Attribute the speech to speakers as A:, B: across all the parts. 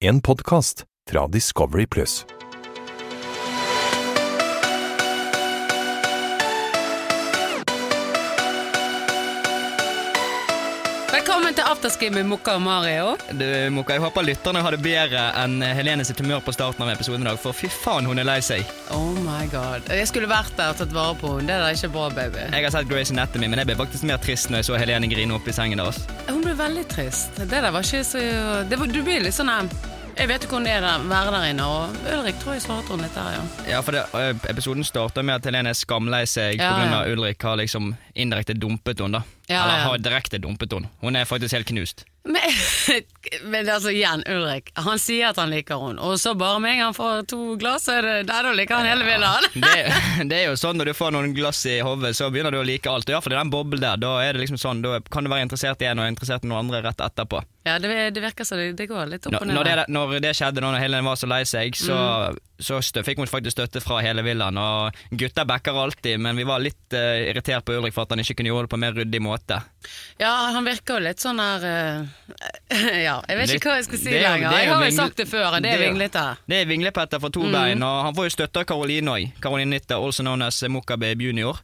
A: En podkast fra Discovery Pluss.
B: Velkommen til afterski med Mokka og Mario.
C: Du, Mokka, jeg håper lytterne har det bedre enn Helene sitt humør på starten av episoden i dag, for fy faen, hun er lei seg.
B: Oh my god. Jeg skulle vært der og tatt vare på henne. Det er da ikke bra, baby.
C: Jeg har sett Grace Anatomy, men jeg ble faktisk mer trist når jeg så Helene grine opp i sengen deres.
B: Hun ble veldig trist. Det der var ikke så det var, Du blir litt sånn em, Jeg vet ikke hvordan det er å være der inne, og Ulrik tror jeg svarte henne litt der, ja.
C: Ja, for det, ø, Episoden starter med at Helene er skamlei seg
B: Ja,
C: pga.
B: ja.
C: Ulrik har liksom indirekte dumpet henne. da.
B: Ja,
C: Eller
B: ja.
C: har direkte dumpet henne. Hun er faktisk helt knust.
B: Men, men altså, igjen, Ulrik. Han sier at han liker henne, og så bare med en gang han får to glass, så er det der, da liker han hele villaen.
C: Det, det er jo sånn Når du får noen glass i hodet, så begynner du å like alt. Iallfall i den boblen der. Da er det liksom sånn, da kan du være interessert i en og interessert i noen andre rett etterpå.
B: Ja, det, det virker som det, det går litt opp
C: Når,
B: og
C: når,
B: ned.
C: det, når det skjedde, når Helene var så lei seg, så, så stø, fikk hun faktisk støtte fra hele villaen. Og gutter backer alltid, men vi var litt eh, irritert på Ulrik for at han ikke kunne gjøre det på en mer ryddig måte.
B: Ja, han virker jo litt sånn der eh, Ja, jeg vet
C: Litt-
B: ikke hva jeg skal si
C: det er jo-
B: lenger.
C: det er
B: Jeg har
C: jo
B: jo
C: vingle-
B: sagt det før, det er
C: det er jo-
B: vinglete.
C: Det er vinglepetter for to bein, og han får jo støtte av Caroline òg. Caroline Nitta, also known as Mokka Babe Junior.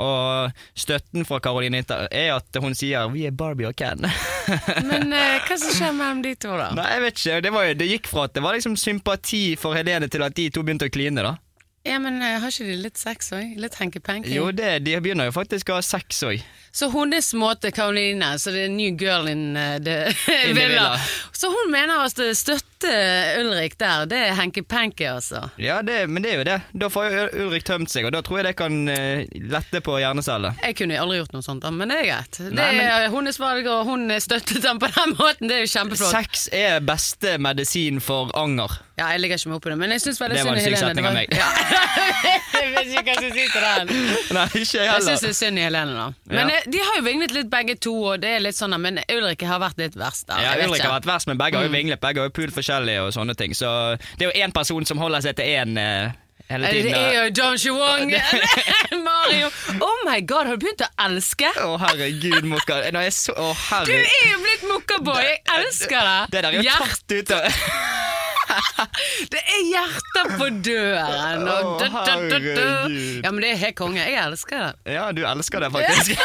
C: Og støtten fra Caroline Nitta er at hun sier 'vi er Barbie og Ken'.
B: Men eh, hva som skjer mellom de to, da?
C: Nei, jeg vet ikke. Det, var, jo- det gikk fra at det var liksom sympati for Helene til at de to begynte å kline, da.
B: Ja, men eh, Har ikke de litt sex òg? Litt hanky-panky?
C: Jo, det, de begynner jo faktisk å ha sex òg.
B: Så hennes måte, Karoline, så det er new girl in eh, the
C: the
B: villa
C: villa.
B: Så hun mener at det støtte Ulrik der, det er hanky-panky, altså.
C: Ja, det, men det er jo det. Da får jo Ul- Ulrik tømt seg, og da tror jeg det kan eh, lette på hjernecellene.
B: Jeg kunne aldri gjort noe sånt, da, men det er greit. Det
C: Nei, men-
B: er hennes valg, og hun støttet ham på den måten. Det er jo kjempeflott.
C: Sex er beste medisin for anger.
B: Ja, jeg legger ikke meg opp i det, men jeg syns veldig
C: Det
B: synd
C: var
B: i
C: en syk
B: Helene.
C: setning av meg.
B: jeg vet ikke hva jeg skal si til den.
C: Nei, ikke jeg
B: Jeg syns
C: heller.
B: det er synd i Helene, da. Men
C: Ja.
B: eh, de har jo vinglet litt begge to, og det er litt sånn, men Ulrik har vært litt verst der.
C: Ja,
B: jeg vet
C: Ulrik
B: ikke. Mm.
C: har vært verst, men begge har jo vinglet. Begge har jo pult forskjellig og sånne ting. Så det er jo én person som holder seg til én eh, hele
B: Eh,
C: tiden.
B: Det er jo John Chuang! Mario! Oh my god, har du begynt å elske?
C: Å, herregud, Mokka. Når jeg så Å,
B: Du
C: herre...
B: er jo blitt mokkaboy! Jeg elsker
C: Det der er
B: deg!
C: jo
B: Hjert,
C: tatt ut av
B: det er hjerter på døren! Og
C: Å,
B: da, da, da, da.
C: herregud.
B: Ja, men det er helt konge. Jeg elsker det.
C: Ja, du elsker det faktisk.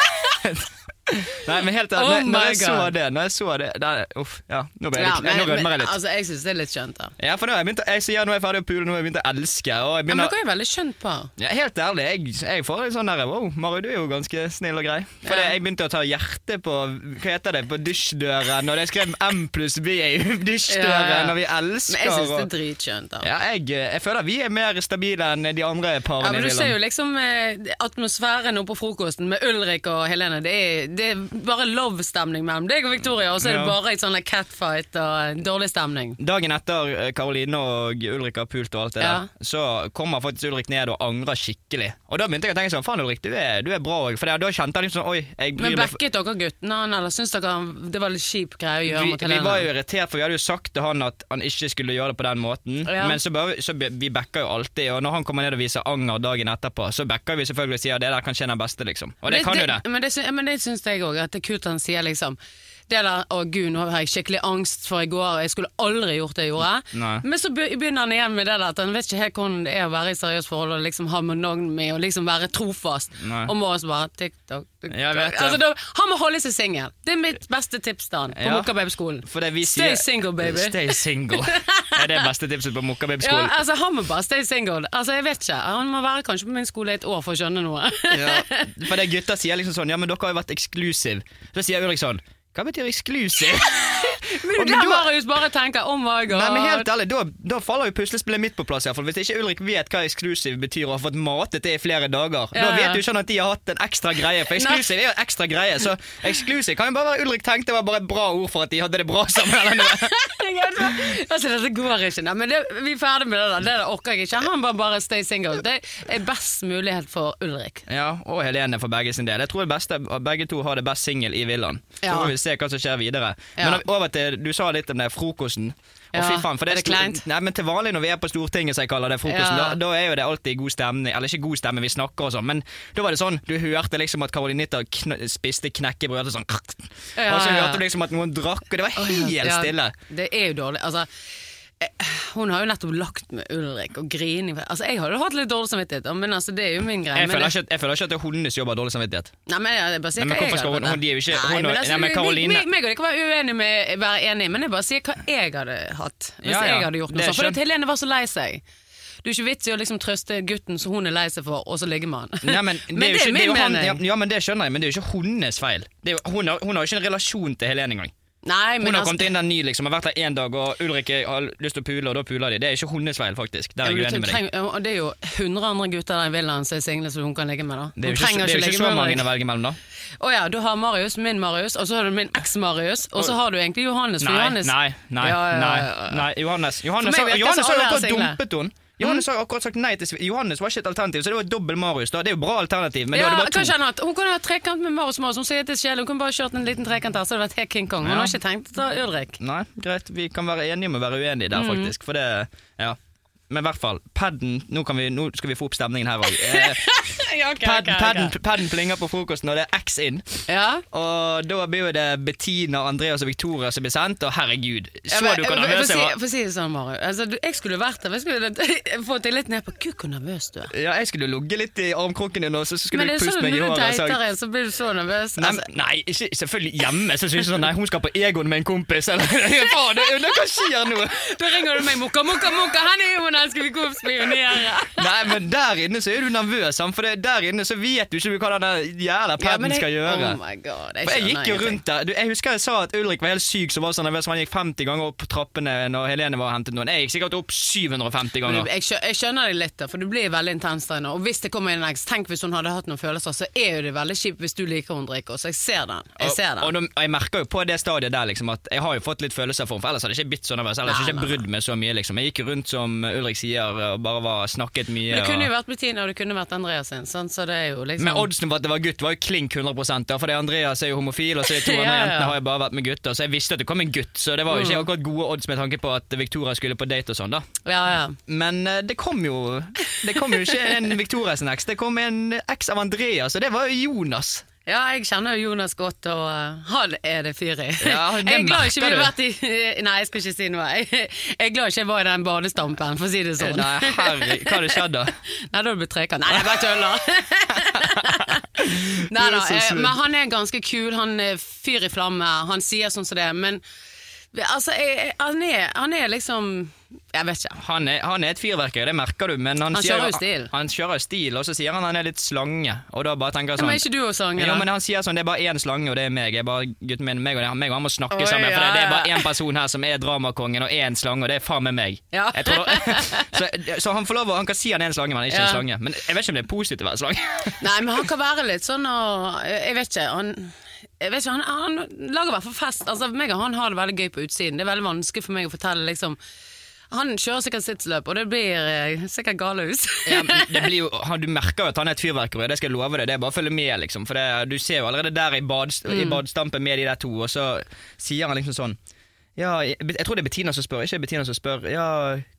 C: Nei, men helt
B: Oh
C: ærlig, når,
B: my
C: jeg så
B: God.
C: det, når jeg så det da, Uff, ja. Nå, ble jeg,
B: Ja,
C: litt- nå rødmer jeg litt.
B: altså, jeg syns det er litt skjønt, da.
C: Ja, for nå har jeg begynt å, jeg sier nå er jeg ferdig å pule, nå har jeg begynt å elske. Og jeg
B: Ja, men
C: begynner,
B: dere er jo veldig skjønt par.
C: ja, helt ærlig, jeg, jeg får en sånn der Wow, Mario, du er jo ganske snill og grei. For
B: Ja.
C: det- jeg begynte å ta hjertet på Hva heter det? På dusjdøren. Og det skrev M pluss B i dusjdøren,
B: Ja, ja.
C: og vi
B: Men
C: elsker
B: jeg syns det er
C: og
B: dritskjønt, da.
C: ja, jeg, jeg føler vi er mer stabile enn de andre
B: Ja,
C: parene
B: men Du
C: i
B: ser jo
C: Villand.
B: liksom eh, atmosfæren oppe på frokosten med Ulrik og Helene. Det er, det er bare love-stemning mellom deg og Victoria, og så er det
C: Ja.
B: bare et sånn der catfight og en dårlig stemning.
C: Dagen etter eh, Karoline og Ulrik har pult og alt det
B: Ja.
C: der, så kommer faktisk Ulrik ned og angrer skikkelig. Og da begynte jeg å tenke sånn Faen, Ulrik, du er, du er bra òg. For da kjente han liksom sånn Oi, jeg bryr
B: Men
C: meg
B: backet dere guttene han, eller syns dere han- det var litt kjip greie å gjøre
C: vi,
B: mot
C: vi var jo
B: Helene?
C: irritert, for vi hadde jo sagt til han at han ikke skulle gjøre det på den måten.
B: Ja.
C: Men så, bare, så be- vi backer jo alltid, og når han kommer ned og viser anger dagen etterpå, så backer vi selvfølgelig og sier det der kan skje den beste, liksom. Og det, kan jo det.
B: Men det, sy- men det syns jeg òg, at det er kult han sier liksom det der, å gud, nå har jeg skikkelig angst for i går, og jeg skulle aldri gjort det jeg gjorde.
C: Nei.
B: Men så be- begynner han igjen med det der at han vet ikke helt hvordan det er å være i seriøst forhold og liksom ha monogamy og liksom være trofast.
C: Nei.
B: Og må også bare TikTok, TikTok.
C: Jeg vet det.
B: altså, da, Han må holde seg singel. Det er mitt beste tips til han på
C: Ja.
B: Mokkababy-skolen.
C: For det vi
B: Stay
C: sier-
B: single, baby.
C: Stay single. Det er det beste tipset
B: Ja,
C: på Mokkababe-skolen.
B: altså Han må bare stay single. Altså, jeg vet ikke. Han må være kanskje på min skole et år for å skjønne noe.
C: Ja. For det gutter sier liksom sånn Ja, men dere har jo vært eksklusiv. Så sier Ulrik sånn Hva betyr eksklusiv?
B: men
C: men
B: der
C: du-
B: Marius bare tenker oh my god.
C: Nei, men helt ærlig, da, da faller jo puslespillet mitt på plass. i hvert fall Hvis ikke Ulrik vet hva eksklusiv betyr og har fått matet det i flere dager,
B: Ja,
C: da
B: ja.
C: vet jo ikke han at de har hatt en ekstra greie. For eksklusiv er jo en ekstra greie. Så eksklusiv kan jo bare være Ulrik tenkte var bare et bra ord for at de hadde det bra sammen. Eller noe.
B: altså, dette går ikke. Nei, men det, vi er ferdig med det der. Det der orker jeg ikke. Han må bare stay single. Det er best mulighet for Ulrik.
C: Ja, Og Helene for begge sin del. Jeg tror det beste, begge to har det best singel i villaen. Så
B: Ja.
C: får vi se hva som skjer videre.
B: Ja.
C: Men over til, Du sa litt om det frokosten. Og
B: Ja.
C: fy faen, for det
B: Er det
C: sl-
B: kleint?
C: Nei, men Til vanlig når vi er på Stortinget, som jeg kaller det, frokosten,
B: Ja.
C: da, da er jo det alltid god stemning. Eller ikke god stemning, vi snakker og sånn, men da var det sånn Du hørte liksom at Karolinita kn spiste knekkebrød og sånn
B: Ja,
C: Og så
B: ja.
C: hørte du liksom at noen drakk, og det var helt
B: Ja,
C: stille.
B: Det er jo dårlig. Altså, Hun har jo nettopp lagt med Ulrik og grining. Altså, jeg hadde hatt litt dårlig samvittighet, da, men altså, det er jo min greie.
C: Jeg
B: men
C: føler,
B: det-
C: ikke, at- jeg føler ikke at det er hundenes jobb å ha dårlig samvittighet.
B: Nei, men jeg bare sier
C: Nei, men
B: hva jeg
C: hvorfor skal
B: hadde
C: hun-
B: hatt.
C: hun- de er jo ikke-
B: Nei,
C: hun-
B: men altså,
C: nei, men
B: vi-
C: Karoline-
B: vi- Meg og deg kan være uenige med være enige, men jeg bare sier hva jeg hadde hatt hvis
C: Ja, ja.
B: jeg hadde gjort noe
C: Det er
B: sånt. For
C: skjønt.
B: at Helene var så lei seg. Det er ikke vits i å liksom trøste gutten som hun er lei seg for, og så ligge med han.
C: Nei, men det, er jo ikke,
B: min
C: det er jo han,
B: mening.
C: ja, ja, men det skjønner jeg, men det er jo ikke hundenes feil. Det er jo, hun, har, hun har jo ikke en relasjon til Helene engang.
B: Nei,
C: Hun
B: men
C: har
B: altså,
C: kommet inn der ny, liksom, har vært der én dag, og Ulrik har lyst til å pule, og da puler de. Det er ikke hundenes feil, faktisk. Der
B: ja,
C: er
B: men
C: jeg uenig
B: du
C: med deg.
B: trenger, ja, og det er jo 100 andre gutter der i villaen som er single som hun kan ligge med. da
C: Det er
B: Hun
C: jo ikke,
B: trenger
C: det er jo ikke
B: ligge
C: så
B: med
C: mange
B: Ulrik.
C: å velge mellom, da.
B: Å ja, du har Marius, min Marius, og så har du min eks-Marius, og så har du egentlig Johannes. For
C: Nei,
B: Johannes
C: nei, nei,
B: Ja, ja, ja,
C: nei,
B: ja.
C: nei. Johannes Johannes,
B: For meg
C: har-
B: virker
C: Johannes
B: som
C: har jo
B: alle Mm. er
C: akkurat
B: single.
C: dumpet henne. Johannes har akkurat sagt nei til Sve- Johannes var ikke et alternativ, så det var dobbel Marius. da Det er jo bra alternativ, men
B: ja,
C: da er det bare
B: kanskje
C: to.
B: han har hatt- Hun kunne ha trekant med Marius Marius. Hun sier til sjel, hun kunne bare kjørt en liten trekant her, så hadde det vært helt King Kong. Hun
C: Ja.
B: har ikke tenkt å ta Ulrik.
C: Nei, greit, vi kan være enige om å være uenige
B: Mm.
C: der, faktisk. For det Ja. Men i hvert fall, paden nå, kan vi- nå skal vi få opp stemningen her òg. Eh,
B: ja,
C: paden, paden, paden plinger på frokosten, og det er X inn.
B: Ja.
C: Og da blir jo det Bettina, Andreas og Victoria som blir sendt, og herregud, så
B: Jeg-
C: du kan
B: jeg- jeg-
C: nervøs
B: jeg-
C: jeg
B: jeg-
C: var.
B: Få si det sånn, Marius. Altså, du, jeg skulle vært der. men Jeg skulle fått deg litt ned på Gud, hvor nervøs du er.
C: Ja, jeg skulle ligget litt i armkroken din, og så skulle
B: Men
C: du
B: det er
C: puste
B: sånn
C: meg i
B: når du
C: håret. og sagt-
B: dater en, så blir du så nervøs.
C: Nei,
B: Altså,
C: nei ikke, selvfølgelig hjemme. Så synes jeg sånn, nei, hun skal på Egon med en kompis. Eller, faen, det, det, hva skjer nå?
B: da ringer du meg mokka, mokka, mokka, han er jo en elsker vi kommer spionere.
C: Nei, men der inne så er du nervøs, sant? for det, der inne så vet du ikke hva den jævla paden skal gjøre.
B: Oh my god, jeg
C: For jeg
B: skjønner
C: gikk jo
B: ingenting.
C: rundt der. Du, jeg husker jeg sa at Ulrik var helt syk som var så nervøs. for Han gikk 50 ganger opp trappene når Helene var og hentet noen. Jeg gikk sikkert opp
B: Men
C: 750 ganger.
B: Jeg, skjø- jeg skjønner deg litt, da, for du blir veldig intens der inne. Og hvis det kommer inn en eks, tenk hvis hun hadde hatt noen følelser, så er jo det veldig kjipt hvis du liker hun drikker. Så jeg ser den. Jeg ser
C: Og, og,
B: den.
C: nå- og jeg merker jo på det stadiet der liksom at jeg har jo fått litt følelser for henne, for ellers hadde jeg ikke blitt så nervøs. Ellers
B: Nei,
C: hadde jeg
B: nei,
C: ikke brydd meg så mye, liksom. Jeg gikk jo rundt som Ulrik sier, og bare var, snakket mye.
B: Men det
C: og-
B: kunne jo vært Bettina, og det kunne vært Andreas sin, sånn, så det er jo liksom
C: Men oddsen for at det var gutt var jo klink 100 da, fordi Andreas er jo homofil, og så de to
B: Ja, ja,
C: andre
B: Mm. ja.
C: jentene har jo bare vært med gutter, så jeg visste at det kom en gutt, så det var jo ikke akkurat gode odds med tanke på at Victoria skulle på date og sånn, da.
B: Ja, ja.
C: Men eh, det kom jo Det kom jo ikke en Victoria sin eks, det kom en eks av Andreas, og det var jo Jonas.
B: Ja, jeg kjenner jo Jonas godt, og eh, han er det fyr i.
C: Ja, det
B: jeg er glad
C: merker
B: ikke vi har
C: du.
B: vært i Nei, jeg skal ikke si noe. Jeg jeg er glad ikke jeg var i den badestampen, for å si det sånn.
C: Eh, Nei, herre, hva hadde skjedd da?
B: Nei, da hadde det blitt trekant. Nei, jeg bare tuller. Nei da,
C: Det er så
B: eh,
C: synd.
B: men han er ganske kul. Han er fyr i flamme. Han sier sånn som det, er, men altså, jeg, han, er, han er liksom Jeg vet ikke.
C: Han er, han er et fyrverkeri, det merker du, men han,
B: Han
C: sier-
B: kjører jo stil.
C: Han kjører jo stil, og så sier han han er litt slange, og da bare tenker jeg sånn
B: Men er ikke du også sanger?
C: Ja,
B: da?
C: men han sier sånn, det er bare én slange, og det er meg. Jeg er bare, gutten min, meg og, det, meg og han må snakke
B: Oi,
C: sammen. For
B: ja,
C: det, det er
B: ja.
C: bare én person her som er dramakongen, og én slange, og det er faen meg meg.
B: Ja.
C: Jeg tror, så, så han får lov, å- han kan si han er en slange, men han er ikke
B: Ja.
C: en slange. Men jeg vet ikke om det er positivt å være slange.
B: Nei, men han kan være litt sånn og Jeg vet ikke. Han jeg vet ikke, han, han lager i hvert fall fest. Altså, meg og han har det veldig gøy på utsiden. Det er veldig vanskelig for meg å fortelle, liksom. Han kjører sikkert sittsløp, og det blir eh, sikkert galehus.
C: Ja, men det blir jo, han, du merker jo at han er et fyrverkeri, det skal jeg love deg. Det er bare å følge med, liksom. For det, du ser jo allerede der i, bad, i
B: Mm.
C: badestampen med de der to, og så sier han liksom sånn ja, jeg, jeg tror det er Bettina som spør, ikke Bettina som spør Ja,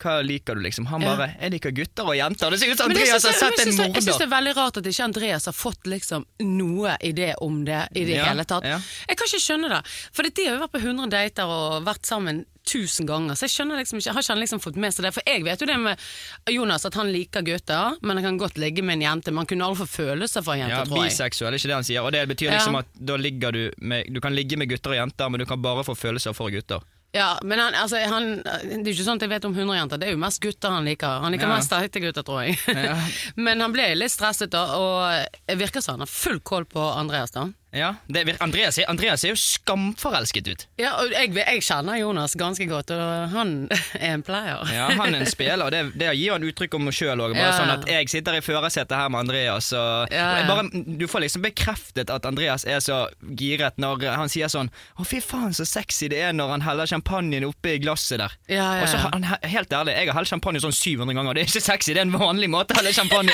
C: hva liker du, liksom. Han
B: Ja.
C: bare 'Jeg liker gutter og jenter'. Det ser ut som
B: Men jeg
C: Andreas har
B: synes-
C: sett
B: jeg
C: en
B: synes- Jeg
C: morder.
B: syns det er veldig rart at ikke Andreas har fått liksom noe idé om det i det
C: Ja,
B: hele tatt.
C: ja.
B: Jeg kan ikke skjønne det. For de har jo vært på 100 dater og vært sammen tusen ganger, så jeg skjønner liksom ikke, har ikke han liksom fått med seg det. For jeg vet jo det med Jonas at han liker gutter, men han kan godt ligge med en jente. Men han kunne aldri få følelser for en jente,
C: Ja,
B: tror jeg.
C: biseksuell, ikke det han sier. Og det betyr
B: Ja.
C: liksom at da ligger du med Du kan ligge med gutter og jenter, men du kan bare få følelser for gutter.
B: Ja, men han, altså, han, det er jo ikke sånn at jeg vet om 100 jenter, det er jo mest gutter han liker. Han liker
C: Ja.
B: mest heite gutter, tror jeg. men han ble litt stresset da, og det virker som han har full kål på Andreas da.
C: Ja, det, vir- Andreas, er- Andreas er jo skamforelsket ut.
B: Ja, og jeg, jeg kjenner Jonas ganske godt, og han er en player.
C: Ja, Han er en spiller, og det, det gir han uttrykk om sjøl òg.
B: Ja.
C: Sånn at jeg sitter i førersetet her med Andreas, og
B: Ja, ja.
C: og jeg bare, du får liksom bekreftet at Andreas er så giret når han sier sånn Å, fy faen, så sexy det er når han heller champagnen oppi glasset der.
B: Ja, ja,
C: Og så,
B: ja.
C: han, helt ærlig, jeg har helt champagne sånn 700 ganger, og det er ikke sexy, det er en vanlig måte å helle champagne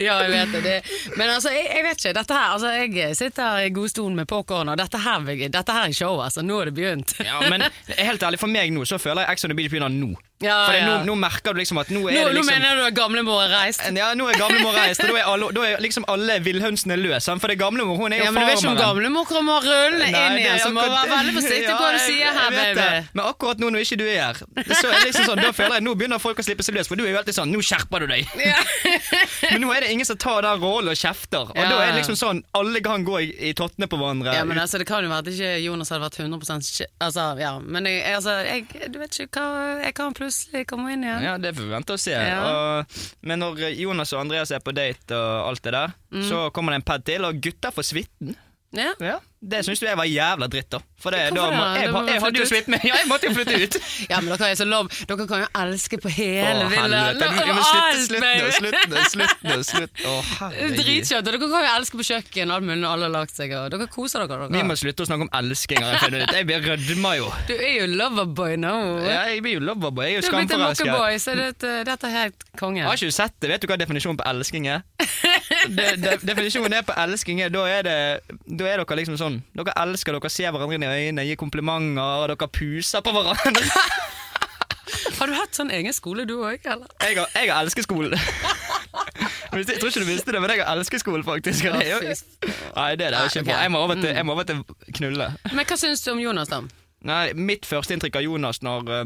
B: Ja, jeg vet det. det. Men altså, jeg, jeg vet ikke. Dette her, altså, jeg sitter i godstolen med popkorn, og dette her, vil- dette her er show, altså. Nå er det begynt.
C: Ja, men helt ærlig, for meg nå så føler jeg Ex on the Beach begynner nå.
B: Ja,
C: For det,
B: Ah, ja.
C: nå, nå merker du liksom at nå
B: Nå,
C: er det
B: nå
C: liksom Eh,
B: mener du at gamlemor har reist?
C: ja, nå er gamlemor reist, og da er, alle, da er liksom alle villhønsene løs. sant? For det er gamlemor, hun er jo
B: Ja, men du vet ikke om
C: farmeren.
B: gamlemor kommer rullende
C: Nei,
B: inn
C: det er
B: igjen, så må du
C: akkurat-
B: være veldig forsiktig på hva du
C: Ja, jeg-
B: sier her,
C: jeg vet
B: baby.
C: det. Men akkurat nå når ikke du er her, så er det liksom sånn, da føler jeg nå begynner folk å slippe seg løs. For du er jo alltid sånn 'nå skjerper du deg'. men nå er det ingen som tar den rollen og kjefter. Og
B: Ja,
C: da er
B: ja.
C: det liksom sånn, alle kan gå i, i tottene på hverandre.
B: Ja, men altså, Det kan jo være at ikke Jonas hadde vært 100 kje- Altså, ja, Men jeg, altså, jeg, du vet ikke hva Jeg kan plutselig komme inn igjen.
C: Ja, det får vi vente og se.
B: Ja.
C: Og, men når Jonas og Andreas er på date og alt det der, så kommer det en pad til, og gutta får
B: Mm.
C: suiten.
B: Ja.
C: Ja. Det syns jo jeg var jævla dritt, da. For det,
B: Hvorfor
C: da må,
B: det?
C: jeg,
B: Da må
C: jeg,
B: man
C: hadde
B: flytte
C: jo
B: ut.
C: suiten med. Ja, jeg måtte jo flytte ut.
B: Ja, men dere er så lov. Dere kan jo elske på hele
C: Å,
B: villaen.
C: helvete. Ja, men
B: Alt,
C: Slutt nå,
B: baby.
C: slutt nå, slutt nå. slutt nå. Å, herregud.
B: Dritkjøtt. Og dere kan jo elske på kjøkken, alt mulig når alle har lagt seg. Og dere koser dere.
C: Vi
B: dere.
C: må slutte å snakke om elskinger. Jeg finner ut. Jeg blir rødma jo.
B: Du er jo loverboy nå.
C: Ja, Jeg blir jo loverboy. Jeg er jo
B: Du er blitt en
C: skamforelsket.
B: mokkeboy, så dette, dette er helt konge.
C: Har ikke du sett det? Vet du hva definisjonen på elsking er? De, de, definisjonen er på elsking er, da er det Da er dere liksom sånn Dere elsker, dere ser hverandre inn i øynene, gir komplimenter, og dere puser på hverandre.
B: Har du hatt sånn egen skole, du òg, eller?
C: Jeg har, jeg har elskeskolen. Jeg tror ikke du visste det, men jeg har elskeskolen, faktisk. og det er jo- Nei, det er det ikke bra. Jeg må over
B: Mm.
C: til, jeg må over til knulle.
B: Men hva syns du om Jonas, da?
C: Nei, mitt første inntrykk av Jonas når eh,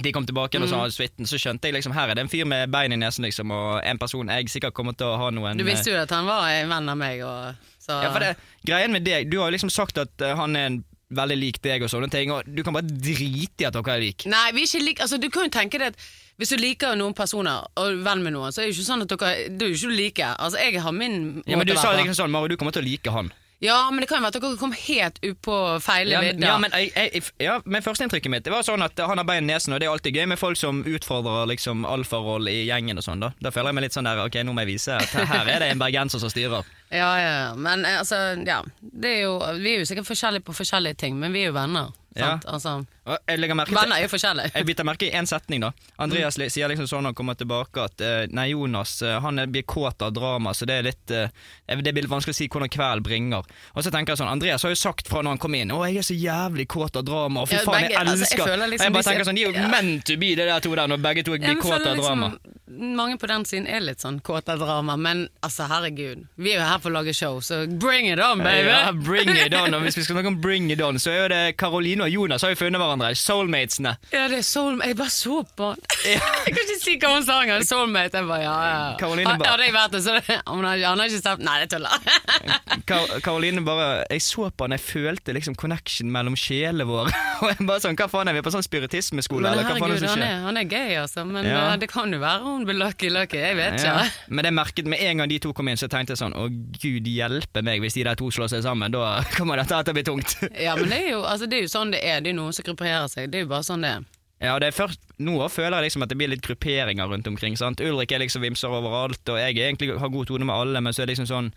C: de kom tilbake igjen og
B: Mm.
C: sa suiten, så skjønte jeg liksom her er det en fyr med bein i nesen, liksom, og en person jeg sikkert kommer til å ha noen
B: Du visste jo at han var en venn av meg, og så
C: eh, Ja, for det, greien med deg, du har jo liksom sagt at eh, han er en veldig lik deg og sånne ting, og du kan bare drite i at dere er lik.
B: Nei, vi er ikke like Altså, du kan jo tenke deg at hvis du liker noen personer og er venn med noen, så er det jo ikke sånn at dere Du er jo ikke like. Altså, jeg har min måte
C: Ja, men du
B: å
C: sa
B: være på.
C: liksom sånn, Mario, du kommer til å like han.
B: Ja, men det kan jo være at dere kom helt ut på feil
C: Ja, men,
B: vidder.
C: ja, men, jeg, jeg, ja, men førsteinntrykket mitt det var sånn at eh, han har bein i nesen, og det er alltid gøy med folk som utfordrer liksom alfaroll i gjengen og sånn, da. Da føler jeg meg litt sånn der, ok, nå må jeg vise at her er det en bergenser som styrer.
B: ja, ja, men eh, altså, ja. Det er jo, vi er jo sikkert forskjellige på forskjellige ting, men vi er jo venner.
C: Ja.
B: Sant? Altså,
C: Og Jeg legger merke til
B: venner er jo forskjellige.
C: Jeg biter merke i én setning, da. Andreas li- sier liksom sånn når han kommer tilbake at eh, nei, Jonas eh, han er- blir kåt av drama, så det er litt eh, Det blir litt vanskelig å si hvordan kvelden bringer. Og så tenker jeg sånn Andreas har jo sagt fra når han kom inn 'Å, jeg er så jævlig kåt av drama', og fy
B: Ja,
C: faen,
B: begge-
C: jeg
B: altså, jeg
C: elsker
B: føler liksom
C: Og jeg bare
B: disse-
C: tenker sånn De er jo
B: ja.
C: meant to be, de der to der, når begge to
B: Ja,
C: blir
B: men
C: kåt
B: føler
C: av drama.
B: Liksom, mange på den siden er litt sånn kåt av drama, men altså, herregud. Vi er jo her for å lage show, så bring it on, baby!
C: Ja, bring it on, og Hvis vi skal snakke om bring it on, så er jo det Karoline og Jonas har jo funnet hverandre. Soulmatesene.
B: Ja, det er soul... Jeg bare så på han. Jeg kan ikke si hva hun sa engang. Soulmate. Jeg bare, ja, ja.
C: Caroline
B: Ha-
C: bare-
B: Hadde jeg vært det, så det, han, har, han har ikke stemt Nei, det tuller.
C: Kar Karoline bare Jeg så på han, jeg følte liksom connection mellom sjelene våre. Og jeg bare sånn, hva faen er vi på sånn spiritismeskole,
B: Men
C: eller hva faen er
B: herregud,
C: det som
B: han
C: skjer?
B: er, han er gay, altså. Men
C: Ja.
B: eh, det kan jo være hun blir lucky lucky. Jeg vet ikke.
C: Ja. Men det merket med en gang de to kom inn, så tenkte jeg sånn Å, gud hjelpe meg, hvis de der to slår seg sammen, da kommer dette her til å bli tungt.
B: Ja, men det er, jo, altså, det er jo sånn det er. Det er jo noen som grupperer seg. Det er jo bare sånn det er.
C: Ja, det er først Nå føler jeg liksom at det blir litt grupperinger rundt omkring. sant? Ulrik er liksom vimser overalt, og jeg er egentlig har god tone med alle, men så er det liksom sånn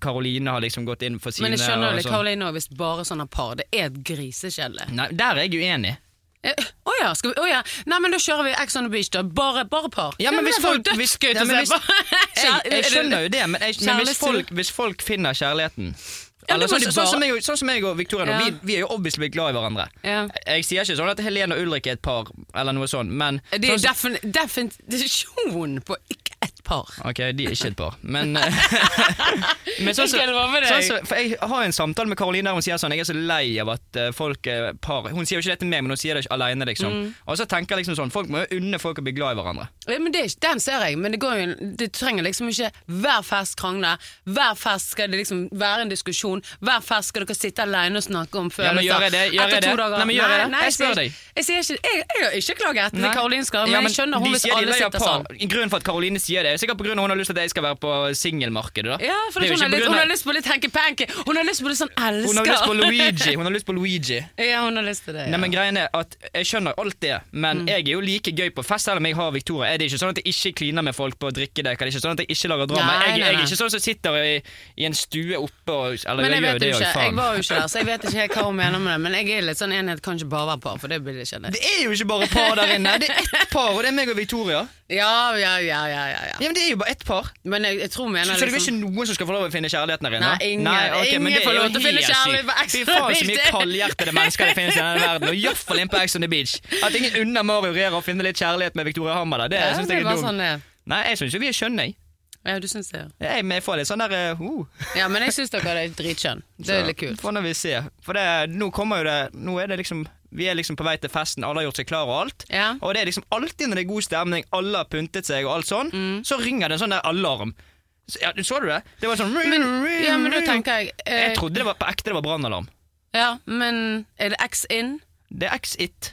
C: Karoline har liksom gått inn for sine
B: Men jeg skjønner jo
C: og
B: litt
C: sånn.
B: Karoline òg, hvis bare sånne par. Det er et grisekjedelig.
C: Nei, der er jeg uenig.
B: Eh, Å ja, skal vi Å ja. Nei, men da kjører vi Ex on the Beach, da. Bare, bare par.
C: Ja, men hvis
B: det er jo
C: folk- hvis-
B: dødsgøy
C: Ja,
B: til å
C: men
B: se
C: hvis-
B: på.
C: Jeg,
B: Kjære-
C: jeg skjønner jo det, men, jeg, men hvis,
B: Kjærlighetssorg.
C: folk, hvis folk finner kjærligheten
B: Ja, det
C: eller,
B: må
C: sånn,
B: du
C: sånn,
B: bare-
C: som jeg, og- sånn som jeg og Victoria nå,
B: Ja.
C: vi, vi er jo obviously glad i hverandre.
B: Ja.
C: Jeg, jeg sier ikke sånn at Helene og Ulrik er et par, eller noe sånt, men
B: Det er
C: sånn,
B: defin definisjon på ikke ett par.
C: Ok, de er ikke et par, men, men sånn, som-
B: Ok, det var med deg.
C: sånn, som- For jeg har en samtale med Karoline der hun sier sånn Jeg er så lei av at eh, folk er par Hun sier jo ikke det til meg, men hun sier det aleine, liksom.
B: Mm.
C: Og så tenker jeg liksom sånn Folk må jo unne folk å bli glad i hverandre.
B: Ja, Men det, er ikke- den ser jeg, men det, går jo, det trenger liksom ikke hver fest krangle. Hver fest skal det liksom være en diskusjon. Hver fest skal dere sitte alene og snakke om følelser.
C: Ja, men gjør jeg det? Gjør jeg
B: Etter to
C: det?
B: dager-
C: Nei, men gjør jeg det?
B: sier
C: Jeg spør
B: ikke-
C: deg.
B: Jeg, sier ikke, jeg, jeg har ikke klaget etter det karolinske, men,
C: Ja,
B: jeg skjønner hun
C: de
B: hvis
C: sier de
B: alle
C: leier
B: sitter
C: par.
B: sånn.
C: Grunnen for at Karoline sier det, er sikkert på grunn av hun har lyst til at jeg skal være på singelmarkedet. da.
B: Ja, for
C: Det
B: hun, har
C: er jo ikke på
B: litt, hun
C: grunn
B: har
C: av-
B: lyst på litt hanky-panky. Hun har lyst på litt sånn elsker.
C: hun har lyst på Luigi. Hun har lyst på Luigi.
B: ja, hun har lyst til det. Ja.
C: Nei, men greien er at Jeg skjønner alt det, men
B: Mm.
C: jeg er jo like gøy på fest selv om jeg har Victoria. Er det ikke sånn at jeg ikke kliner med folk på drikkedekker? Det er ikke sånn at jeg ikke lager drama?
B: Nei,
C: jeg,
B: nei,
C: jeg
B: nei.
C: er ikke sånn som sitter i, i en stue oppe og Eller
B: Men jeg
C: jeg,
B: vet
C: gjør det
B: jo
C: jo,
B: ikke, jeg
C: faen.
B: var jo ikke der, så jeg vet ikke helt hva hun mener med det. Men jeg er litt sånn enhet kan ikke bare være par, for det blir det ikke. det.
C: Det er jo ikke bare par der inne! Det er ett par, og det er meg og Victoria.
B: Ja, ja, ja, ja, ja, ja.
C: Ja, men Det er jo bare ett par.
B: Men jeg, jeg tror hun mener liksom-
C: Så, så det er ikke noen som skal få lov å finne kjærligheten der inne?
B: Nei, ingen.
C: ok, men
B: Ingen
C: det er
B: får
C: jo
B: lov til å finne
C: helt
B: kjærlighet
C: sykt.
B: på Ex on
C: Fy
B: the
C: faen så
B: Beach,
C: mye
B: det-
C: kaldhjertede mennesker det finnes i denne verden, og iallfall inne på Ex on the Beach. At ingen unner Mario Rera å finne litt kjærlighet med Victoria Hammer der, det
B: Ja,
C: synes
B: det
C: jeg
B: er
C: er
B: bare
C: dumt.
B: sånn det er.
C: Nei, jeg syns jo vi er skjønne, jeg.
B: Ja, du syns det, ja.
C: Jeg men jeg får litt sånn der eh, uh.
B: Ja, men jeg syns dere er dritskjønn. Det er litt kult.
C: Får nå vi se. For det, nå kommer jo det Nå er det liksom Vi er liksom på vei til festen, alle har gjort seg klar og alt.
B: Ja.
C: Og det er liksom alltid når det er god stemning, alle har pyntet seg og alt sånn,
B: Mm.
C: så ringer det en sånn der alarm. Så, ja, så du det? Det var sånn
B: Men, ja, men da tenker jeg eh,
C: Jeg trodde det var på ekte det var brannalarm.
B: Ja, men er det X in?
C: Det er Exit.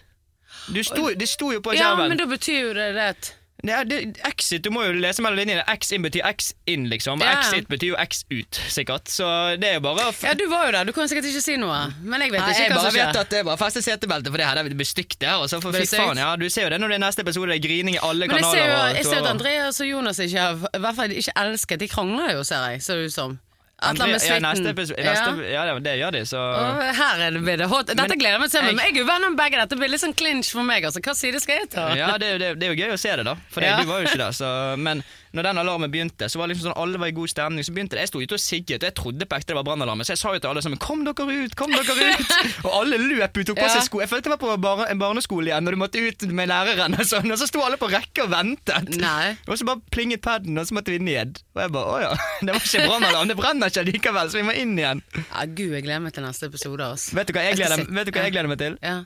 C: Du sto, det sto jo på
B: Ja,
C: skjermen.
B: men da betyr jo det det at
C: Det er- det- Exit, du må jo lese mellom linjene. X in betyr X in, liksom.
B: Ja.
C: Exit betyr jo X ut, sikkert. Så det er jo bare å f-
B: Ja, du var jo der, du kan sikkert ikke si noe. Men jeg vet
C: Nei,
B: ikke
C: jeg
B: hva
C: bare
B: som
C: vet
B: skjer.
C: at det var feste setebeltet, for det hadde blitt stygt der. Altså, for
B: Ble
C: fy
B: det stygt?
C: faen, ja, du ser jo det når det er neste episode, det er grining i alle
B: Men jeg
C: kanaler.
B: ser jo
C: og
B: jeg ser jo at
C: tårer.
B: Andreas og Jonas ikke har i hvert fall ikke elsket. De krangler jo, ser jeg, ser det ut som. Et eller
C: Andre-
B: annet med
C: ja, neste
B: suiten.
C: episode,
B: Ja.
C: neste, ja. det- det gjør de, så
B: Og her er det blir det hot. Dette
C: Men-
B: gleder jeg meg til, men
C: Jeg-
B: jeg er jo venn med begge. Dette blir litt sånn clinch for meg. Altså. Hva side skal jeg ta?
C: Ja, det, er jo- det, er- det er jo gøy å se det, da. For
B: Ja.
C: du var jo ikke der. Så, men når den alarmen begynte, så var det liksom sånn alle var i god stemning. Så begynte det. Jeg sto ute og sigget, og jeg trodde på ekte det var brannalarmen, så jeg sa jo til alle sammen 'kom dere ut', 'kom dere ut'. Og alle løp ut, tok på
B: Ja.
C: seg sko. Jeg følte jeg var på bar en barneskole igjen, og du måtte ut med læreren og sånn. Og så sto alle på rekke og ventet.
B: Nei.
C: Og så bare plinget paden, og så måtte vi ned. Og jeg bare 'å ja, det var ikke brannalarm, det brenner ikke likevel, så vi må inn igjen'.
B: Ja, Gud, jeg gleder meg til neste episode. Altså.
C: Vet du hva jeg
B: skal
C: gleder,
B: se-
C: vet du hva jeg gleder meg til?
B: Ja.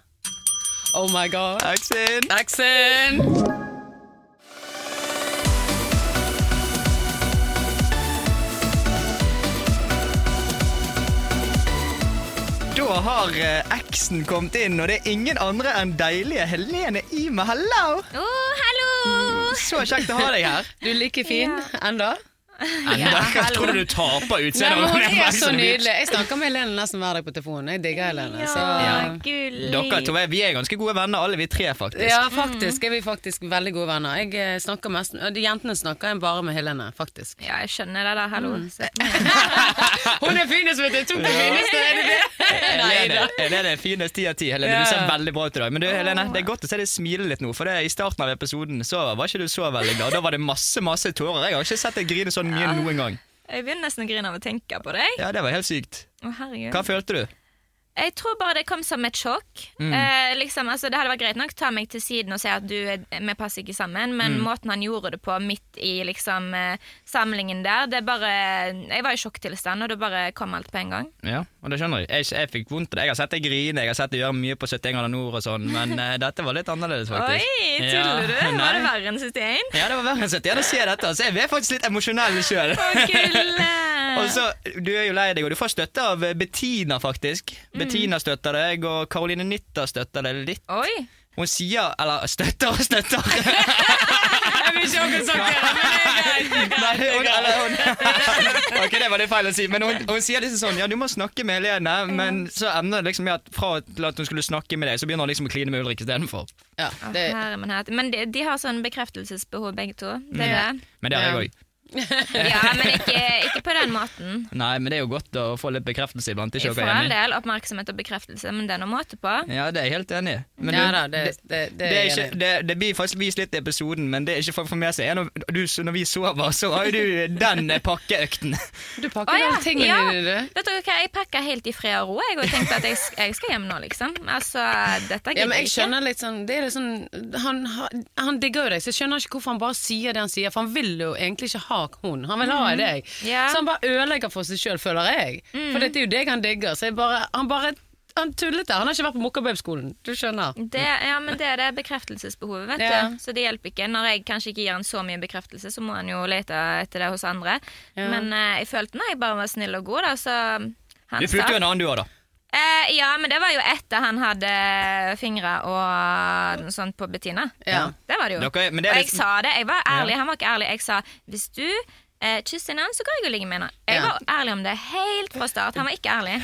B: Oh my god.
C: Aksin!
B: Action!
C: Da har eh, eksen kommet inn, og det er ingen andre enn deilige Helene Ime. Hallo!
D: Å, hallo!
C: Så kjekt å ha deg her.
B: Du er like fin enda.
C: Enda. Jeg trodde du taper
B: Nei, men Hun
C: på
B: er så
C: Exxon Beach.
B: nydelig. Jeg snakker med Helene nesten hver dag på telefonen. Jeg digger Helene. Så.
D: Ja, gullig.
C: Dere to er, vi er ganske gode venner, alle vi tre, faktisk.
B: Ja, faktisk er vi faktisk veldig gode venner. Jeg eh, snakker mest, og de Jentene snakker jeg bare med Helene, faktisk.
D: Ja, jeg skjønner det, da. Hallo.
C: Mm.
B: Hun er finest, vet du! Jeg tok det fineste! Er det det?
C: Helene, Helene er finest ti av ti. Helene,
B: Ja.
C: Du ser veldig bra ut i dag. Men du, Helene, det er godt å se deg smile litt nå, for det, i starten av episoden så var ikke du så veldig glad. Da var det masse masse tårer. Jeg har ikke sett deg grine sånn mye noen gang.
D: Jeg begynner nesten å grine av å tenke på deg.
C: Ja, Det var helt sykt.
D: Å, herregud.
C: Hva følte du?
D: Jeg tror bare det kom som et sjokk.
C: Mm.
D: Eh, liksom, altså, det hadde vært greit nok å ta meg til siden og si at du, er- vi passer ikke sammen,
C: Mm.
D: men måten han gjorde det på midt i liksom, eh, samlingen der det bare, Jeg var i sjokktilstand, og da bare kom alt på en gang.
C: Ja, og det skjønner jeg. Jeg, jeg fikk vondt av det. Jeg har sett deg grine, jeg har sett deg gjøre mye på 71 grader nord og sånn, men eh, dette var litt annerledes, faktisk.
D: Oi,
C: Ja,
D: tuller du? Var det
C: nei.
D: verre enn 71?
C: Ja, det var verre enn 71 å se dette. Altså, jeg er faktisk litt emosjonell sjøl.
D: Å, gulle!
C: Og så, Du er jo lei deg, og du får støtte av eh, Bettina, faktisk.
D: Mm.
C: Bettina støtter deg, og Caroline Nitta støtter deg litt.
D: Oi!
C: Hun sier Eller støtter og støtter.
B: Jeg vil ikke ha sagt det, men det er greit.
C: Nei, hun, eller hun Ok, det var litt feil å si, men hun, hun sier liksom sånn Ja, du må snakke med Helene, men så ender det liksom med at fra til at hun skulle snakke med deg, så begynner hun liksom å kline med Ulrik istedenfor.
B: Ja, det,
D: Herre min hatt. Men de, de har sånn bekreftelsesbehov, begge to.
B: Mm.
D: Det er det.
C: Men det har
B: Ja.
C: jeg òg.
D: Ja, men ikke, ikke på den måten.
C: Nei, men det er jo godt å få litt bekreftelse iblant. Ikke
D: For
C: dere
D: all
C: enig?
D: del oppmerksomhet og bekreftelse, men det er noe måte på.
C: Ja, det er jeg helt enig i. Men
B: ja
C: du-
B: da, det, det, det,
C: det, er ikke,
B: gjelder.
C: det, det blir faktisk vist litt i episoden, men det er ikke folk får med seg. Er Når, du, når vi sover, så har jo du den pakkeøkten.
B: Du
D: Å,
B: pakker alle tingene dine, du.
D: Vet dere hva, jeg pakka helt i fred og ro jeg, og tenkte at jeg, sk- jeg skal hjem nå, liksom. Altså, dette
B: Ja,
D: gidder
B: men jeg
D: jeg ikke.
B: skjønner litt sånn, det er litt sånn han, han- han digger jo deg, så jeg skjønner ikke hvorfor han bare sier det han sier. For han vil jo egentlig ikke ha hun, han vil ha deg.
D: Ja.
B: Så han bare ødelegger for seg sjøl, føler jeg. For dette er jo deg han digger. Så jeg bare, han bare han tullet der. Han har ikke vært på Mokkabøbskolen, du skjønner.
D: Det, ja, men det er det bekreftelsesbehovet, vet
B: Ja.
D: du. Så det hjelper ikke. Når jeg kanskje ikke gir han så mye bekreftelse, så må han jo lete etter det hos andre.
B: Ja.
D: Men eh, jeg følte når jeg bare var snill og god, da, så
C: Du
D: han
C: pulte jo en annen du òg, da.
D: Eh, ja, men det var jo etter han hadde fingre og noe sånt på Bettina.
B: Ja.
D: Det var det jo.
C: Dere er- liksom- men det er
D: og jeg
C: litt-
D: sa det. Jeg var ærlig. Han var ikke ærlig. Jeg sa hvis du eh, eh, kyss innan, så kan jeg jo ligge med henne. Jeg
B: Ja.
D: var ærlig om det helt fra start. Han var ikke ærlig.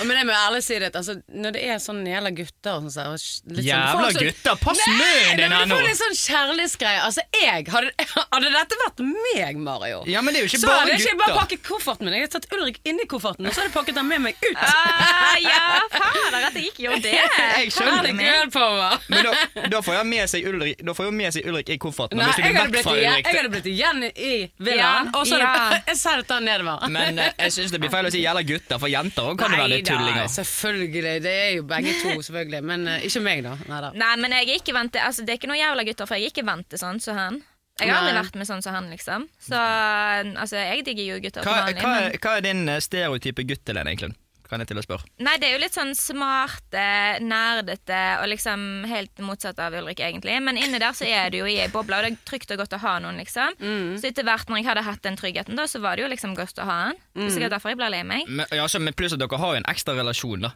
B: Og Men jeg må ærlig si det, at, altså, når det er sånn jævla gutter og sånn, så, og litt sånn
C: Jævla
B: folk som-
C: gutter, pass
B: Nei,
C: munnen
B: nei,
C: din her
B: men Du
C: nå!
B: får litt sånn kjærlighetsgreie. Altså, jeg hadde, hadde dette vært meg, Mario
C: Ja, men det er jo ikke
B: så
C: bare
B: hadde jeg ikke bare
C: gutter.
B: pakket kofferten min. Jeg hadde tatt Ulrik inni kofferten, og så hadde jeg pakket den med meg ut.
D: Ah, ja, fader, at jeg ikke gjorde det.
C: Jeg skjønner
B: Herlig
D: Fader meg.
B: girl power.
C: Men da, da får jeg med seg Ulrik, da får jeg med seg Ulrik i kofferten.
B: Nei,
C: hvis du
B: jeg
C: blir
B: hadde,
C: vekk
B: blitt
C: fra
B: igjen,
C: Ulrik.
B: jeg hadde blitt igjen i villaen,
D: Ja,
B: og så hadde
D: ja.
B: jeg seilt den nedover.
C: Men eh, jeg syns det blir feil å si jævla gutter, for jenter også kan jo være litt
B: Neida,
C: tullinger.
B: selvfølgelig. Det er jo begge to, selvfølgelig. Men eh, ikke meg, da. Neida.
D: Nei, men jeg er ikke vant til altså, Det er ikke noen jævla gutter, for jeg er ikke vant til sånn som han. Jeg har aldri
B: Nei.
D: vært med sånn som han, liksom. Så altså, jeg digger jo gutter
C: Hva,
D: til vanlig.
C: hva,
D: men-
C: hva er din eh, stereotype gutt, Helene, egentlig? Kan jeg til å spørre.
D: Nei, det er jo litt sånn smarte, nerdete og liksom helt motsatt av Ulrik, egentlig. Men inni der så er du jo i ei boble, og det er trygt og godt å ha noen, liksom. Så etter hvert når jeg hadde hatt den tryggheten, da, så var det jo liksom godt å ha han. Det er sikkert derfor jeg ble lei meg.
C: Men, ja, så, men pluss at dere har jo en ekstra relasjon, da.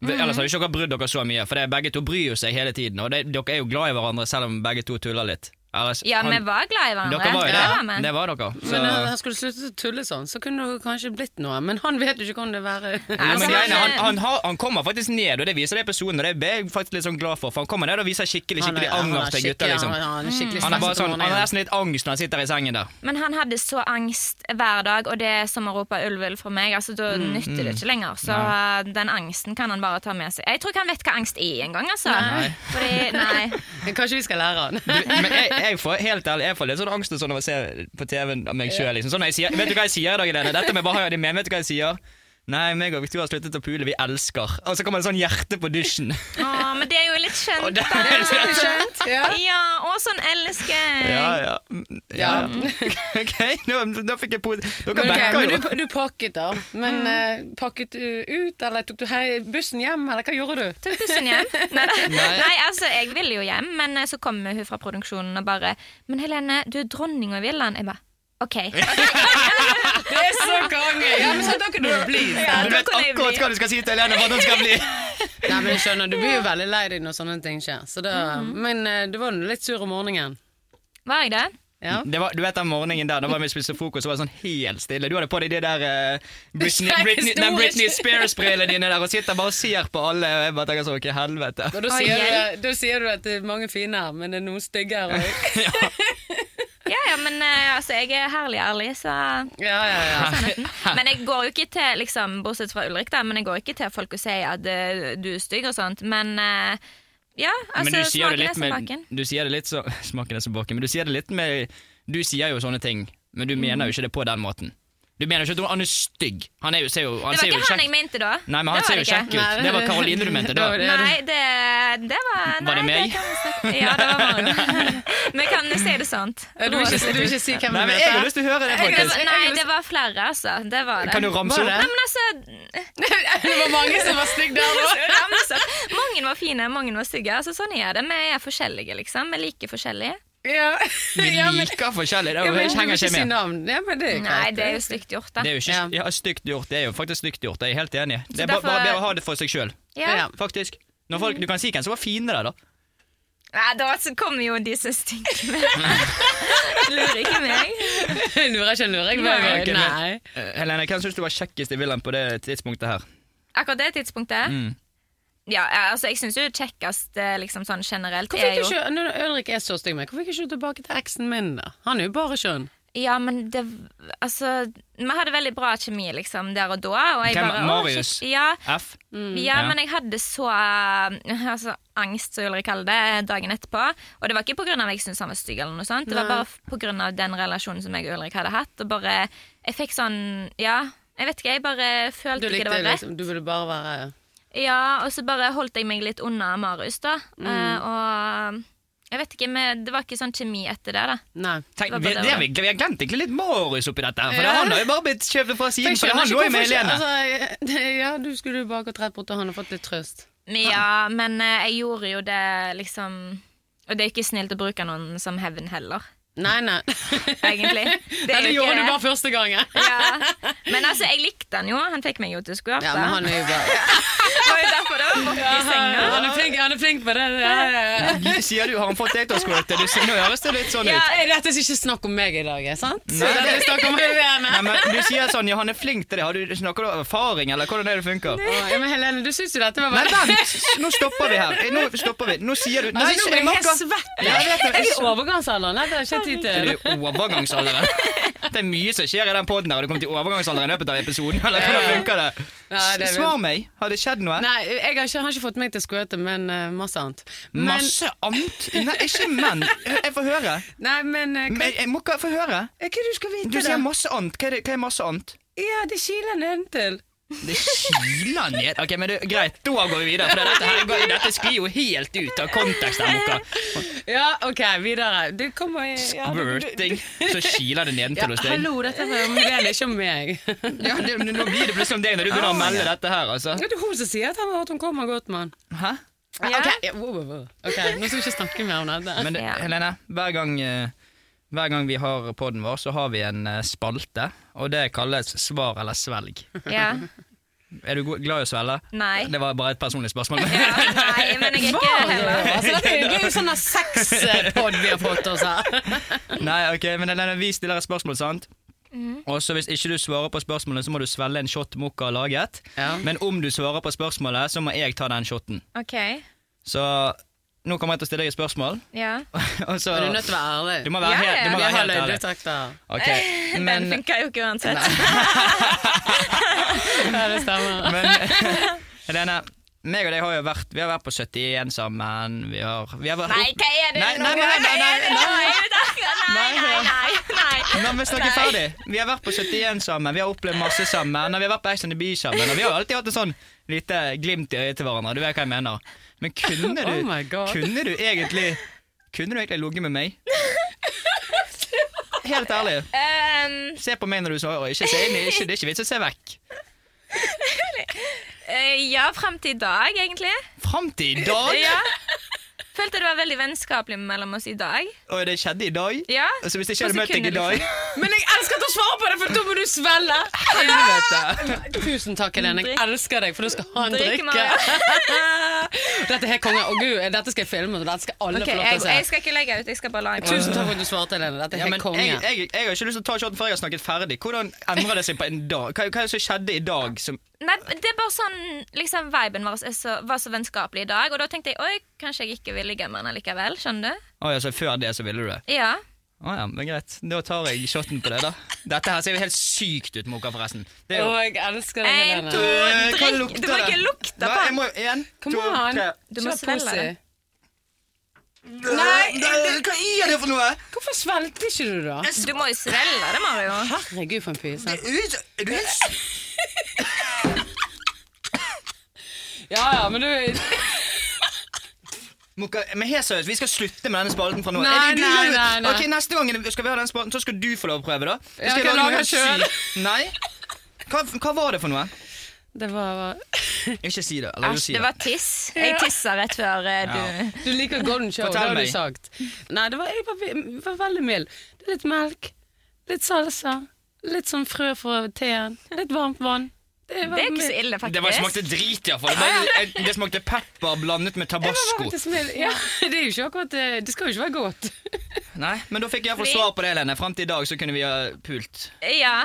C: Ve-
B: Mhm.
C: Ellers hadde ikke dere brydd dere så mye, for det er begge to bryr jo seg hele tiden. Og det, dere er jo glad i hverandre, selv om begge to tuller litt. Ellers,
D: Ja,
C: han-
D: vi var glad i hverandre.
C: Dere var jo
D: Det var
C: det.
D: vi.
C: Det var dere. Så.
B: Men eh, han skulle slutte å tulle sånn, så kunne det kanskje blitt noe. Men han vet jo ikke hvordan det være
C: Ja, men
D: Altså,
C: greiene, han,
D: han-
C: han, har, han kommer faktisk ned, og det viser det i personen. Og det er jeg faktisk litt sånn glad for, for han kommer ned og viser skikkelig
B: Han er-
C: skikkelig
B: han er
C: anger til gutta.
B: skikkelig-
C: Liksom.
B: han- han er skikkelig
C: Han er
B: stresset
C: bare
B: om
C: sånn, han er
B: morgenen.
C: nesten litt angst når han sitter i sengen der.
D: Men han hadde så angst hver dag, og det er som å rope ulvel for meg. Altså, Da nytter
C: Mm.
D: det ikke lenger. Så uh, den angsten kan han bare ta med seg. Jeg tror ikke han vet hva angst er engang, altså. Nei. Fordi, nei.
B: Kanskje vi skal lære han.
C: Du, men jeg, jeg får helt ærlig, jeg får litt sånn angst og sånn av å se på TV-en av meg sjøl. Liksom. Sånn, når jeg sier- vet du hva jeg sier i dag, Helene? Dette med bare å ha det med, vet du hva jeg sier? Nei, meg og Victoria har sluttet å pule, vi elsker. Og så kommer det sånn hjerte på dusjen.
D: Å, men det er jo litt
C: Og
D: skjønt,
C: det
D: da.
C: er sånn-
B: Skjønt? Ja.
D: Ja, og sånn elsker jeg.
C: Ja, ja. Mm, ja.
B: Ja.
C: Ok, nå, nå fikk jeg pose. Dere
B: Men, ok,
C: backer
B: men
C: jo.
B: du, du pakket da, men eh, pakket du ut, eller tok du hei, bussen hjem, eller hva gjorde du?
D: Tok bussen hjem? Nei, da. Nei, altså, jeg ville jo hjem, men eh, så kom hun fra produksjonen og bare 'Men Helene, du er dronning av villaen.' Jeg bare OK.
B: Det er så konge! Ja, men så da kunne du bli.
D: Ja,
C: Du
D: da
C: vet
D: kunne jeg bli.
C: akkurat hva du skal si til Helene, hva hun skal bli.
B: Nei, men jeg skjønner, du blir jo veldig lei deg når sånne ting skjer. Så da, Men eh, du var nå litt sur om morgenen.
D: Var jeg det?
B: Ja.
C: Det var, du vet den morgenen der, da var vi og spiste frokost, og var det sånn helt stille. Du hadde på deg de der eh, Britney,
B: Skjegg,
C: Britney,
B: store
C: nei, Britney
B: skjegg.
C: Spears-brillene dine der, og sitter bare og ser på alle, og jeg bare tenker sånn, ok, helvete.
B: Og da
D: Oi,
B: sier,
D: hjelp.
B: du, da sier du at det er mange fine her, men det er noen stygge her òg.
D: Ja ja, men eh, altså, jeg er herlig ærlig, så
B: Ja, ja, ja.
D: Men jeg går jo ikke til, liksom, bortsett fra Ulrik, da, men jeg går ikke til folk og sier at eh, du er stygg og sånt, men eh, ja, altså,
C: Men du sier, det
D: smaken er
C: litt
D: som
C: med,
D: baken.
C: du sier det litt så, smaken er som baken, men du sier det litt med, du sier jo sånne ting, men du mener jo ikke det på den måten. Du mener jo ikke at han er stygg. Han er jo, ser jo, han
D: Det var
C: ser jo
D: ikke han
C: kjekk.
D: jeg mente da.
C: Nei, men han
D: Det var
C: ser
D: det
C: jo
D: ikke.
C: kjekk ut. Det var Karoline du mente da.
B: Det var-
D: Nei, det, det var
C: Var det
D: nei,
C: meg?
D: kan vi snakke- Ja, det var Marion. Vi kan si det sånt.
B: Du vil ikke, du vil ikke si hvem
C: Nei,
B: du
C: men jeg har
B: heter?
C: lyst til å høre det,
D: Det
C: folkens.
D: var- Nei, det var flere, altså. Det var det.
C: Kan du ramse
B: Var
C: opp?
B: det?
D: Nei, men altså,
B: Det var mange som var stygge der òg.
D: ramse opp. Mange var fine, mange var stygge. Altså, sånn er det. Vi er forskjellige, liksom. Vi er like forskjellige.
B: Ja.
C: Vi
B: Ja, men,
C: liker forskjellig, det
B: ja, men, du vil
C: henger
B: ikke
C: ikke
B: si
C: med.
B: navn. Ja, men det er greit.
D: Nei, det er jo stygt gjort, da.
C: Det er jo ikke,
B: Ja.
C: ja, stygt gjort, det er jo faktisk stygt gjort, jeg er helt enig. Det er
D: derfor-
C: bare, bare bedre å ha det for seg sjøl.
D: Ja.
B: Ja.
C: Faktisk. Når folk, du kan si hvem som var fiende der, da.
D: Nei, da så kommer jo de som stinker med. Lurer ikke meg.
B: Lurer ikke, lurer ikke.
C: Ok,
B: Nei.
C: men-
B: Nei.
C: Eh, Helene, hvem syns du var kjekkest i villaen på det tidspunktet her?
D: Akkurat det tidspunktet?
C: Mm.
D: Ja, eh, altså, jeg syns jo kjekkest eh, liksom sånn generelt
B: Hvorfor
D: er
B: ikke
D: jo
B: kjø- Når Ulrik er så stygg med Hvorfor ikke du tilbake til eksen min da? Han er jo bare skjønn
D: Ja, men det Altså, vi hadde veldig bra kjemi, liksom, der og da. Og jeg
C: Hvem?
D: bare, «Å,
C: Marius?»
D: shit, Ja,
C: F?
B: Mm.
D: ja,
C: Ja.
D: men jeg hadde så eh, altså, angst, som Ulrik kaller det, dagen etterpå. Og det var ikke pga. at jeg syntes han var stygg, eller noe sånt. Det var
B: Nei.
D: bare pga. den relasjonen som jeg og Ulrik hadde hatt. Og bare Jeg fikk sånn Ja, jeg vet ikke, jeg bare
B: Du
D: følte ikke det
B: likte
D: var rett.
B: liksom Du ville bare være
D: Ja, og så bare holdt jeg meg litt unna Marius, da.
B: Mm.
D: Eh, og jeg vet ikke, men det var ikke sånn kjemi etter det, da.
B: Nei
C: Tenk,
D: Det var
C: vi,
D: bare
C: det
D: det,
C: har vi, vi har glemt egentlig litt Marius oppi dette. her, For
B: Ja.
C: Han har jo bare blitt kjøpt fra siden.
B: Jeg
C: For
B: skjønner
C: han
B: ikke
C: lå jo
B: hvorfor
C: med
B: ikke-
C: Helene.
B: altså, jeg- Ja, du skulle jo bare gått rett bort til han og fått litt trøst
D: Men ja, men eh, jeg gjorde jo det liksom Og det er ikke snilt å bruke noen som hevn heller,
B: Nei, nei
D: egentlig.
B: Det,
D: er
B: det
D: jo
B: gjorde du
D: ikke
B: bare første gangen
D: Ja. Men altså, jeg likte han jo. Han fikk meg jo til å skulle
B: Ja, men han er jo bare
D: Og var jo derfor det var borti senga.
B: Han er flink, han er flink på det. Ja, ja, ja.
C: Sier du har han fått deg til å squirte? Du sier- Nå høres det litt sånn ut.
B: Ja, dette er ikke snakk om meg i dag, er sant?
C: Nei,
B: Dette er
C: det-
B: snakk om Helene.
C: Nei, men Du sier sånn ja, han er flink til det. Har du Snakker du om erfaring, eller hvordan er det det funker?
B: Å, Ja, men Helene, du syns jo dette var
C: Nei,
B: bare
C: vent! Nå stopper vi her. Nå stopper vi. Nå sier du
B: Nei,
C: Nei,
B: Altså, nå
C: jeg
B: blir jeg helt
C: merker-
B: svett.
C: Ja, jeg vet det.
B: Er vi i overgangsalderen? Nei, det har jeg ikke
C: Er
B: tid til.
C: du i overgangsalderen? Det er mye som skjer i den poden her. Har du kommet i overgangsalderen i løpet av episoden? Eller hvordan funker det?
B: Nei, det er vel-
C: Svar meg. Har det skjedd noe?
B: Nei, jeg har ikke, han har ikke fått meg til å squirte, men eh, masse annet. Men,
C: Masse annet? Nei, ikke menn. Jeg får høre.
B: Nei, men eh, hva,
C: Men jeg må ikke få høre.
B: hva du skal vite,
C: Du
B: da?
C: sier masse annet. Hva er, det, hva er masse annet?
B: Ja, det kiler nedentil.
C: Det kiler ned. Ok, men det, Greit, da går vi videre. For dette, her, går- dette sklir jo helt ut av kontekst. her, Mokka.
B: Ja, OK, videre. Du kommer i ja, du- du-
C: Squirting. Så kiler det
B: Ja,
C: nedentil hos deg.
B: hallo, dette var om Helene, ikke om meg. Det
C: Ja, det, nå blir det plutselig om deg når du begynner å melde dette her, altså.
B: er hun som sier at han har hørt hun kommer godt, mann.
C: Hæ?
B: Ja. Ok, ja, wow, wow, wow. Ok, nå skal vi ikke snakke mer om dette.
C: Men det,
D: Ja.
C: Helene, hver gang, eh, hver gang vi har podden vår, så har vi en eh, spalte, og det kalles svar eller svelg.
D: Ja.
C: Er du go- glad i å svelge?
D: Nei.
C: Det var bare et personlig spørsmål.
D: Ja, nei, men jeg er ikke heller.
B: Altså, dette er- det er jo sånn sexpod vi har fått oss her.
C: Nei, ok, men Helene, vi stiller et spørsmål, sant?
D: Mhm.
C: Og så Hvis ikke du svarer på spørsmålet, så må du svelge en shot Mokka har laget.
B: Ja.
C: Men om du svarer på spørsmålet, så må jeg ta den shoten.
D: OK.
C: Så nå kommer jeg til å stille deg et spørsmål.
D: Ja.
C: Og så,
B: Men du er nødt til å være ærlig.
C: du må være
D: Ja,
C: helt, du
D: ja,
C: må
B: Vi
C: være
B: har
C: helt ærlig.
B: løgnetakter.
C: Ok,
D: Den
C: men,
D: funka jo ikke uansett.
B: Ja, det stemmer.
C: men Helene, meg og deg har jo vært Vi har vært på 71 sammen. Vi har, vi har vært
D: Nei, hva er det
C: Nei,
D: nå?
C: nei, nei, nei, nei, nei.
D: Nei, nei, nei, nei.
C: Nei, men snakk
D: Nei.
C: ferdig. Vi har vært på 71 sammen, vi har opplevd masse sammen. Og vi har vært på Ex on the Beach sammen. Og vi har alltid hatt en sånn lite glimt i øyet til hverandre. Du vet hva jeg mener. Men kunne du,
B: Oh my God.
C: kunne du egentlig Kunne du egentlig ligget med meg? Helt ærlig.
D: Ehm,
C: Se på meg når du svarer. Ikke se inn i ikke, Det er ikke vits å se vekk.
D: eh, ja, fram til i dag, egentlig.
C: Fram til i dag!
D: Ja. Følte det var veldig vennskapelig mellom oss i dag.
C: Og det skjedde i dag.
D: Ja.
C: Altså, hvis ikke jeg hadde
D: På
C: møtt deg i
D: sekundet, liksom.
C: dag
B: Men jeg elsker at du svarer på det, for da må du svelle.
C: Helvete!
B: Tusen takk, Helene. Jeg
D: Drikk.
B: elsker deg, for da skal han
D: Drikk,
B: drikke. Dette er helt konge. Å gud, dette skal jeg filme, og dette skal alle
D: Ok,
B: få lov
D: jeg,
B: til å
D: jeg
B: se.
D: skal ikke legge ut, jeg skal bare la en
B: Tusen takk for at du svarte, Helene. Dette
C: Ja,
B: er
C: men
B: helt konge.
C: jeg, jeg, jeg har ikke lyst til å ta shoten før jeg har snakket ferdig. Hvordan endrer det seg på en dag? Hva, hva er det som skjedde i dag som
D: Nei, det er bare sånn liksom, Viben vår er så, var så vennskapelig i dag, og da tenkte jeg oi, kanskje jeg ikke vil ligge med henne likevel. Skjønner du?
C: Å ja, så før det så ville du det?
D: Ja.
C: Å ja, men greit. Da tar jeg shoten på det, da. Dette her ser jo helt sykt ut, Moka, forresten. Det er
B: Å,
C: jo
B: jeg elsker deg,
D: En, to,
B: Helene.
C: Øh, hva
D: drikk.
C: lukter
D: Du må
C: det?
D: ikke lukte på
C: Hva? Jeg
D: den.
C: må en,
B: Kom
C: to,
B: an.
C: tre.
D: Du må
B: Kjør
D: svelle
B: pussy.
D: det.
C: Nei, hva er det for noe?
B: Hvorfor svelgte ikke du, da?
D: Du må jo svelge det, Mario.
B: Herregud, for en altså. pyse.
C: Er du helt
B: Ja, ja, men du
C: Mokka, men helt seriøst, vi skal slutte med denne spalten fra nå.
B: Nei,
C: Er det- du
B: nei,
C: gjør jo-
B: nei, nei.
C: Ok, Neste gang skal vi ha den spalten, så skal du få lov å prøve, da. Så
B: Ja, kan jeg
C: noe
B: lage
C: helt
B: selv?
C: sykt. Nei. Hva, hva var det for noe?
B: Det var
C: Ikke si det. Eller jo, si
D: Det var tiss. Jeg tissa rett før eh, du
B: Du liker Golden Show, det
C: Fortell
B: har du
C: meg.
B: sagt. Nei, det var, jeg var, ve- var veldig mild. Det er Litt melk, litt salsa, litt sånn frø fra teen, litt varmt vann. Det, var
D: Det er ikke så
B: mild.
D: ille,
C: Det var,
D: faktisk.
C: smakte drit, iallfall. Det, det smakte pepper blandet med
B: Det var
C: tabasco.
B: faktisk mild. Ja, det er jo ikke akkurat eh, Det skal jo ikke være godt.
C: Nei, Men da fikk jeg iallfall
D: Fordi-
C: svar på det, Lene. Fram til i dag så kunne vi ha pult.
D: Ja.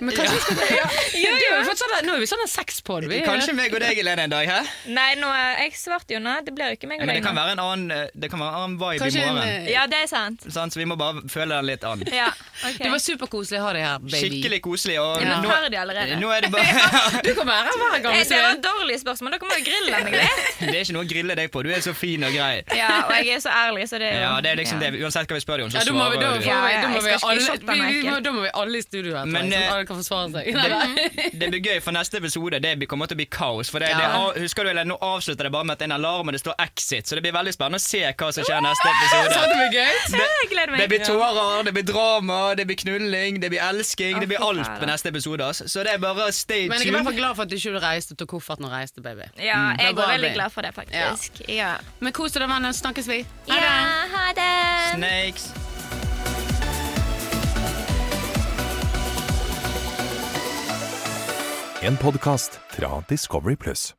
B: Men kanskje vi skal ja. Du har jo fått sånne, Nå er vi sånn en sexpod. Vi,
C: Kanskje meg og deg, Lene, en dag. hæ?
D: Nei, nå, eh, jeg svarte jo nå. Det blir jo ikke meg
C: Ja,
D: og
C: men det
D: deg
C: kan
D: nå.
C: være en annen, eh, det kan være en annen vibe
B: Kanskje
C: i
B: en,
C: morgen.
B: eh,
D: Ja, det er sant.
C: Sant? Så vi må bare føle den litt an.
D: Ja, ok.
B: Det var superkoselig å ha deg her, baby.
C: Skikkelig koselig. Og
D: Ja,
C: nå,
D: men ferdig allerede.
C: nå er det bare
B: Du kommer her hver gang
D: Eh,
B: vi
D: Det var
B: ser.
D: et dårlig spørsmål. Dere må jo grille meg litt.
C: Det er ikke noe å grille deg på. Du er så fin og grei.
D: Ja, og jeg er så ærlig, så det er jo
C: Ja, det er liksom
D: ja.
C: det. Uansett hva vi spør deg om, så
B: Ja, da må vi, da,
C: svarer
B: får
C: du.
B: vi,
D: Ja, ja,
B: da, må vi
D: jeg skal ikke
B: alle,
D: shotte
B: vi,
D: meg,
B: vi, må,
D: ikke.
B: da må vi alle i studio her,
C: Men,
B: sånn
C: eh,
B: at alle kan forsvare seg. Nei, nei.
C: Det, det blir gøy, for neste episode det blir- kommer til å bli kaos. For det, det,
B: Ja.
C: av- husker du, eller, Nå avslutter det bare med at en alarm og det står 'exit', så det blir veldig spennende å se hva som skjer neste
B: Sånn
C: episode.
B: det blir gøy.
D: Jeg gleder meg.
C: Det blir tårer, det blir drama, det blir knulling, det blir elsking,
D: Å,
C: det blir
D: fy
C: alt
D: faen.
C: på neste episode. ass. Så det er bare stay
B: Men jeg er i hvert fall
C: tuned.
B: glad for at du ikke reiste og tok kofferten og reiste, baby.
D: Ja,
B: Da
D: jeg var
B: var
D: veldig
B: vi.
D: glad for det, faktisk. Ja,
B: Men kos deg, venner. Snakkes vi.
D: ja. ha det!
C: Snakes.
A: En podkast fra Discovery Pluss.